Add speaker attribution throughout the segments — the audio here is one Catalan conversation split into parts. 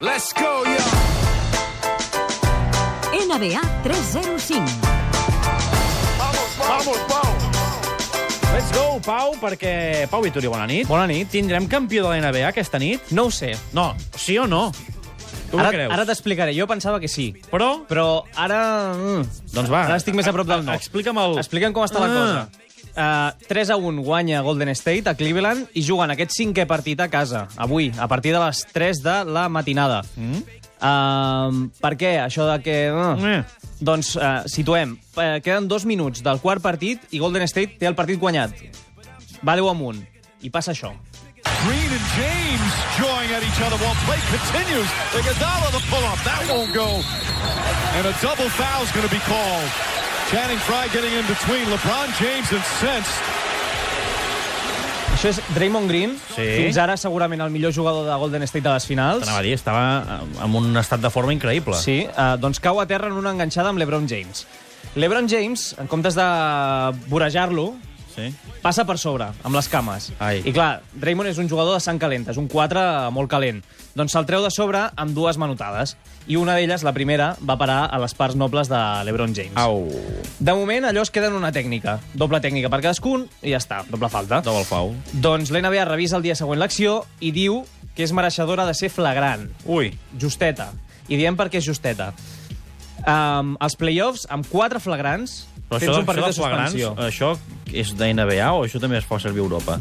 Speaker 1: Let's go, yo!
Speaker 2: NBA 305.
Speaker 1: Vamos, Pau!
Speaker 3: Let's go, Pau, perquè... Pau Vitorio, bona nit.
Speaker 4: Bona nit.
Speaker 3: Tindrem campió de la NBA aquesta nit?
Speaker 4: No ho sé.
Speaker 3: No. Sí o no? Tu
Speaker 4: ara
Speaker 3: què creus?
Speaker 4: ara t'explicaré. Jo pensava que sí.
Speaker 3: Però...
Speaker 4: Però ara... mm,
Speaker 3: Doncs va.
Speaker 4: Ara estic més a prop del
Speaker 3: A-
Speaker 4: no.
Speaker 3: a- Explica'm el... Ah.
Speaker 4: Explica'm com està la cosa. Uh, 3 a 1 guanya Golden State a Cleveland i juguen aquest cinquè partit a casa, avui, a partir de les 3 de la matinada. Mm? Uh, per què? Això de que... Uh,
Speaker 3: Eh.
Speaker 4: Doncs uh, situem. Uh, queden dos minuts del quart partit i Golden State té el partit guanyat. Va 10 amunt. I passa això.
Speaker 1: Green and James jawing at each other while play continues. The Iguodala, the pull-up, that won't go. And a double foul's going to be called. Channing Frye getting in between. LeBron James incensed.
Speaker 4: Això és Draymond Green,
Speaker 3: Sí.
Speaker 4: fins ara segurament el millor jugador de Golden State de les finals.
Speaker 3: T'anava a dir, estava en un estat de forma increïble.
Speaker 4: Sí, eh, doncs cau a terra en una enganxada amb l'Ebron James. L'Ebron James, en comptes de vorejar-lo,
Speaker 3: sí.
Speaker 4: passa per sobre, amb les cames.
Speaker 3: Ai.
Speaker 4: I clar, Draymond és un jugador de sang calenta, és un 4 molt calent. Doncs se'l treu de sobre amb dues manotades. I una d'elles, la primera, va parar a les parts nobles de l'Ebron James.
Speaker 3: Au.
Speaker 4: De moment, allò es queda en una tècnica. Doble tècnica per cadascun i ja està, doble falta.
Speaker 3: Double foul.
Speaker 4: Doncs l'NBA revisa el dia següent l'acció i diu que és mereixedora de ser flagrant.
Speaker 3: Ui.
Speaker 4: Justeta. I diem per què és justeta. Um, els playoffs, amb quatre flagrants,
Speaker 3: Però
Speaker 4: tens
Speaker 3: això,
Speaker 4: un
Speaker 3: això
Speaker 4: partit de
Speaker 3: dels flagrants, eh.
Speaker 4: suspensió.
Speaker 3: això és de NBA o això també es fa servir a Europa?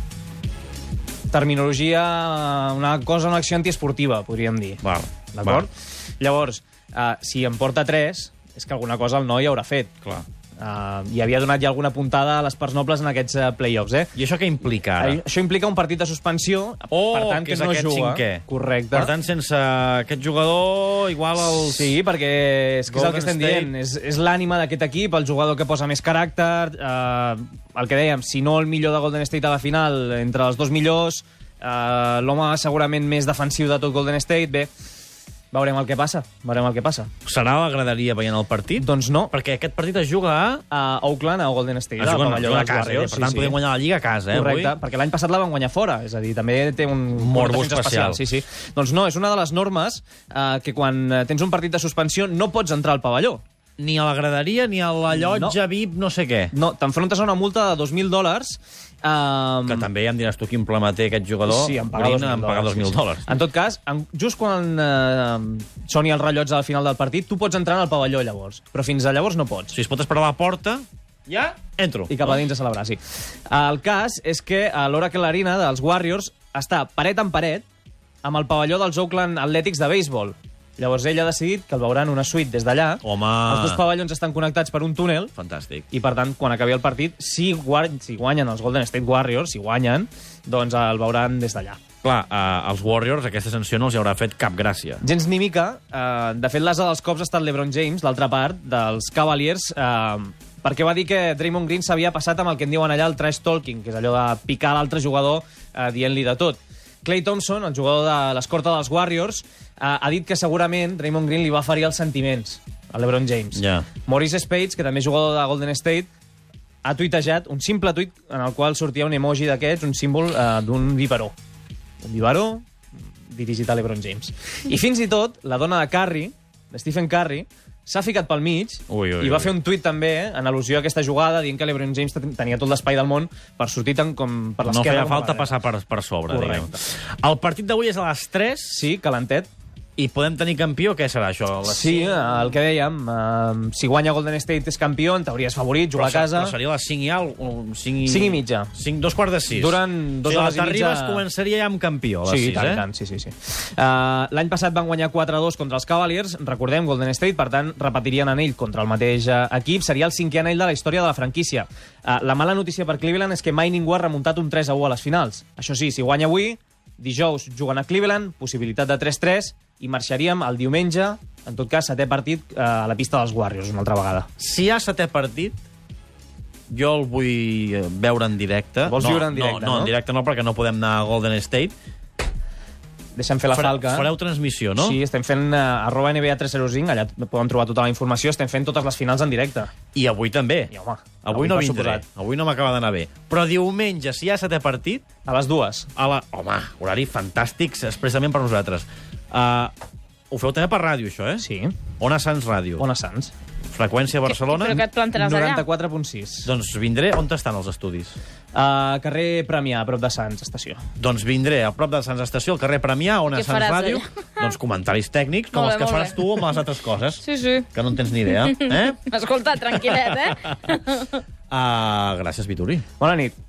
Speaker 4: Terminologia, una cosa, una acció antiesportiva, podríem dir.
Speaker 3: Val.
Speaker 4: D'acord?
Speaker 3: Val.
Speaker 4: Llavors, uh, si en porta tres, és que alguna cosa el noi haurà fet.
Speaker 3: Clar.
Speaker 4: Uh, I havia donat ja alguna puntada a les parts nobles en aquests eh, playoffs, eh?
Speaker 3: I això què implica ara?
Speaker 4: Ai, Això implica un partit de suspensió,
Speaker 3: Oh,
Speaker 4: per tant, que,
Speaker 3: és
Speaker 4: no
Speaker 3: aquest
Speaker 4: juga.
Speaker 3: cinquè.
Speaker 4: Correcte.
Speaker 3: Per tant, sense aquest jugador, igual els...
Speaker 4: Sí, perquè és, que és el que
Speaker 3: Golden
Speaker 4: estem
Speaker 3: State.
Speaker 4: dient. És, és l'ànima d'aquest equip, el jugador que posa més caràcter, eh, el que dèiem, si no el millor de Golden State a la final, entre els dos millors, eh, l'home segurament més defensiu de tot Golden State, bé, veurem el que passa, veurem el que passa.
Speaker 3: Serà l'agradaria veient el partit?
Speaker 4: Doncs no,
Speaker 3: Perquè aquest partit es juga a...
Speaker 4: a Oakland, a Golden State,
Speaker 3: Es
Speaker 4: al
Speaker 3: juga, a
Speaker 4: pavelló
Speaker 3: juga a
Speaker 4: dels
Speaker 3: casa, eh?
Speaker 4: Warriors,
Speaker 3: Per tant, podem guanyar la Lliga a casa, eh?
Speaker 4: Correcte,
Speaker 3: Avui.
Speaker 4: perquè l'any passat la van guanyar fora, és a dir, també té un
Speaker 3: Morbo
Speaker 4: defensa
Speaker 3: especial.
Speaker 4: Sí, sí. Doncs no, és una de les normes eh, que quan eh, tens un partit de suspensió no pots entrar al pavelló.
Speaker 3: Ni a la graderia, ni a la llotja no. VIP, no sé què.
Speaker 4: No, t'enfrontes a una multa de 2.000 dòlars. Um,
Speaker 3: Que també ja em diràs tu quin problema té aquest jugador.
Speaker 4: Sí, en pagar
Speaker 3: Green,
Speaker 4: 2.000
Speaker 3: en pagar
Speaker 4: dòlars,
Speaker 3: 2.000 dòlars.
Speaker 4: En tot cas, en, just quan eh, soni els rellotge al final del partit, tu pots entrar al pavelló llavors, però fins a llavors no pots.
Speaker 3: Si es pot esperar a la porta,
Speaker 4: Ja?
Speaker 3: entro.
Speaker 4: I cap a dins a celebrar, sí. El cas és que a l'hora que l'arena dels Warriors està paret en paret amb el pavelló dels Oakland Athletics de béisbol. Llavors ell ha decidit que el veuran una suite des d'allà.
Speaker 3: Home.
Speaker 4: Els dos pavellons estan connectats per un túnel
Speaker 3: Fantàstic.
Speaker 4: i per tant, quan acabi el partit, si, guany, si guanyen els Golden State Warriors, si guanyen, doncs el veuran des d'allà.
Speaker 3: Clar, eh, als Warriors aquesta sanció no els hi haurà fet cap gràcia.
Speaker 4: Gens ni mica. Eh, de fet, l'asa dels cops ha estat l'Ebron James, l'altra part, dels Cavaliers, eh, perquè va dir que Draymond Green s'havia passat amb el que en diuen allà el trash talking, que és allò de picar l'altre jugador eh, dient-li de tot. Clay Thompson, el jugador de l'escorta dels Warriors, eh, ha dit que segurament Draymond Green li va ferir els sentiments a l'Ebron James.
Speaker 3: Ja.
Speaker 4: Maurice Spades, que també és jugador de Golden State, ha tuitejat un simple tuit en el qual sortia un emoji d'aquests, un símbol eh, d'un biberó. Un biberó dirigit a l'Ebron James. I fins i tot la dona de Curry, de Stephen Curry, s'ha ficat pel mig
Speaker 3: Ui, ui,
Speaker 4: i va
Speaker 3: ui.
Speaker 4: fer un tuit també eh, en al·lusió a aquesta jugada dient que l'Ebron James ten- tenia tot l'espai del món per sortir tant com per
Speaker 3: No
Speaker 4: l'esquerra.
Speaker 3: feia
Speaker 4: com per
Speaker 3: falta
Speaker 4: darrere.
Speaker 3: passar per, per sobre,
Speaker 4: Correcte.
Speaker 3: diguem. El partit d'avui és a les 3
Speaker 4: Sí, calentet.
Speaker 3: i podem tenir campió. Què serà això? A Les...
Speaker 4: Sí, eh, el que dèiem, eh, si guanya Golden State és campió, en teoria és favorit,
Speaker 3: Però
Speaker 4: jugar a
Speaker 3: se-
Speaker 4: casa...
Speaker 3: Però seria a les 5 i, al, 5 i...
Speaker 4: Cinc i mitja.
Speaker 3: 5, dos quarts de 6.
Speaker 4: Duren dues
Speaker 3: si
Speaker 4: hores i mitja-
Speaker 3: t'arribes, començaria ja amb campió, a les
Speaker 4: Sí,
Speaker 3: 6,
Speaker 4: tant,
Speaker 3: eh?
Speaker 4: tant, sí, sí. sí. Uh, L'any passat van guanyar 4-2 contra els Cavaliers, recordem, Golden State, per tant, repetirien anell contra el mateix uh, equip, seria el cinquè anell de la història de la franquícia. Uh, la mala notícia per Cleveland és que mai ningú ha remuntat un 3-1 a les finals. Això sí, si guanya avui, dijous juguen a Cleveland, possibilitat de 3-3, i marxaríem el diumenge, en tot cas, setè partit uh, a la pista dels Warriors, una altra vegada.
Speaker 3: Si hi ha setè partit, jo el vull eh, veure en directe.
Speaker 4: Vols
Speaker 3: no,
Speaker 4: viure en directe,
Speaker 3: no? No,
Speaker 4: no?
Speaker 3: en directe no, perquè no podem anar a Golden State.
Speaker 4: Deixem fer la
Speaker 3: Fare-
Speaker 4: falca. eh?
Speaker 3: Fareu transmissió, no?
Speaker 4: Sí, estem fent uh, arroba NBA 305, allà podem trobar tota la informació, estem fent totes les finals en directe.
Speaker 3: I avui també.
Speaker 4: I, home,
Speaker 3: avui,
Speaker 4: avui
Speaker 3: no
Speaker 4: per
Speaker 3: vindré.
Speaker 4: suposat.
Speaker 3: Avui no m'acaba d'anar bé. Però diumenge, si hi ha setè partit,
Speaker 4: A les dues.
Speaker 3: a la... Home, horari fantàstic, expressament per nosaltres. Uh, Ho feu també per ràdio, això, eh?
Speaker 4: Sí.
Speaker 3: Ona Sants Ràdio.
Speaker 4: Ona Sants.
Speaker 3: Freqüència Barcelona.
Speaker 5: Però que et plantaràs allà.
Speaker 4: 94.6.
Speaker 3: Doncs vindré... On estan els estudis?
Speaker 4: Uh, carrer Premià, a prop de Sants, estació.
Speaker 3: Doncs vindré a prop de Sants Estació, al carrer Premià, on a
Speaker 5: Què
Speaker 3: Sants
Speaker 5: faràs
Speaker 3: Ràdio.
Speaker 5: allà?
Speaker 3: Doncs comentaris tècnics, com els
Speaker 5: Molt bé,
Speaker 3: que
Speaker 5: molt
Speaker 3: faràs
Speaker 5: bé.
Speaker 3: tu amb les altres coses,
Speaker 5: Sí, sí.
Speaker 3: que no en tens ni idea. Eh?
Speaker 5: Escolta, tranquil·let, eh?
Speaker 3: Uh, gràcies, Vituri.
Speaker 4: Bona nit.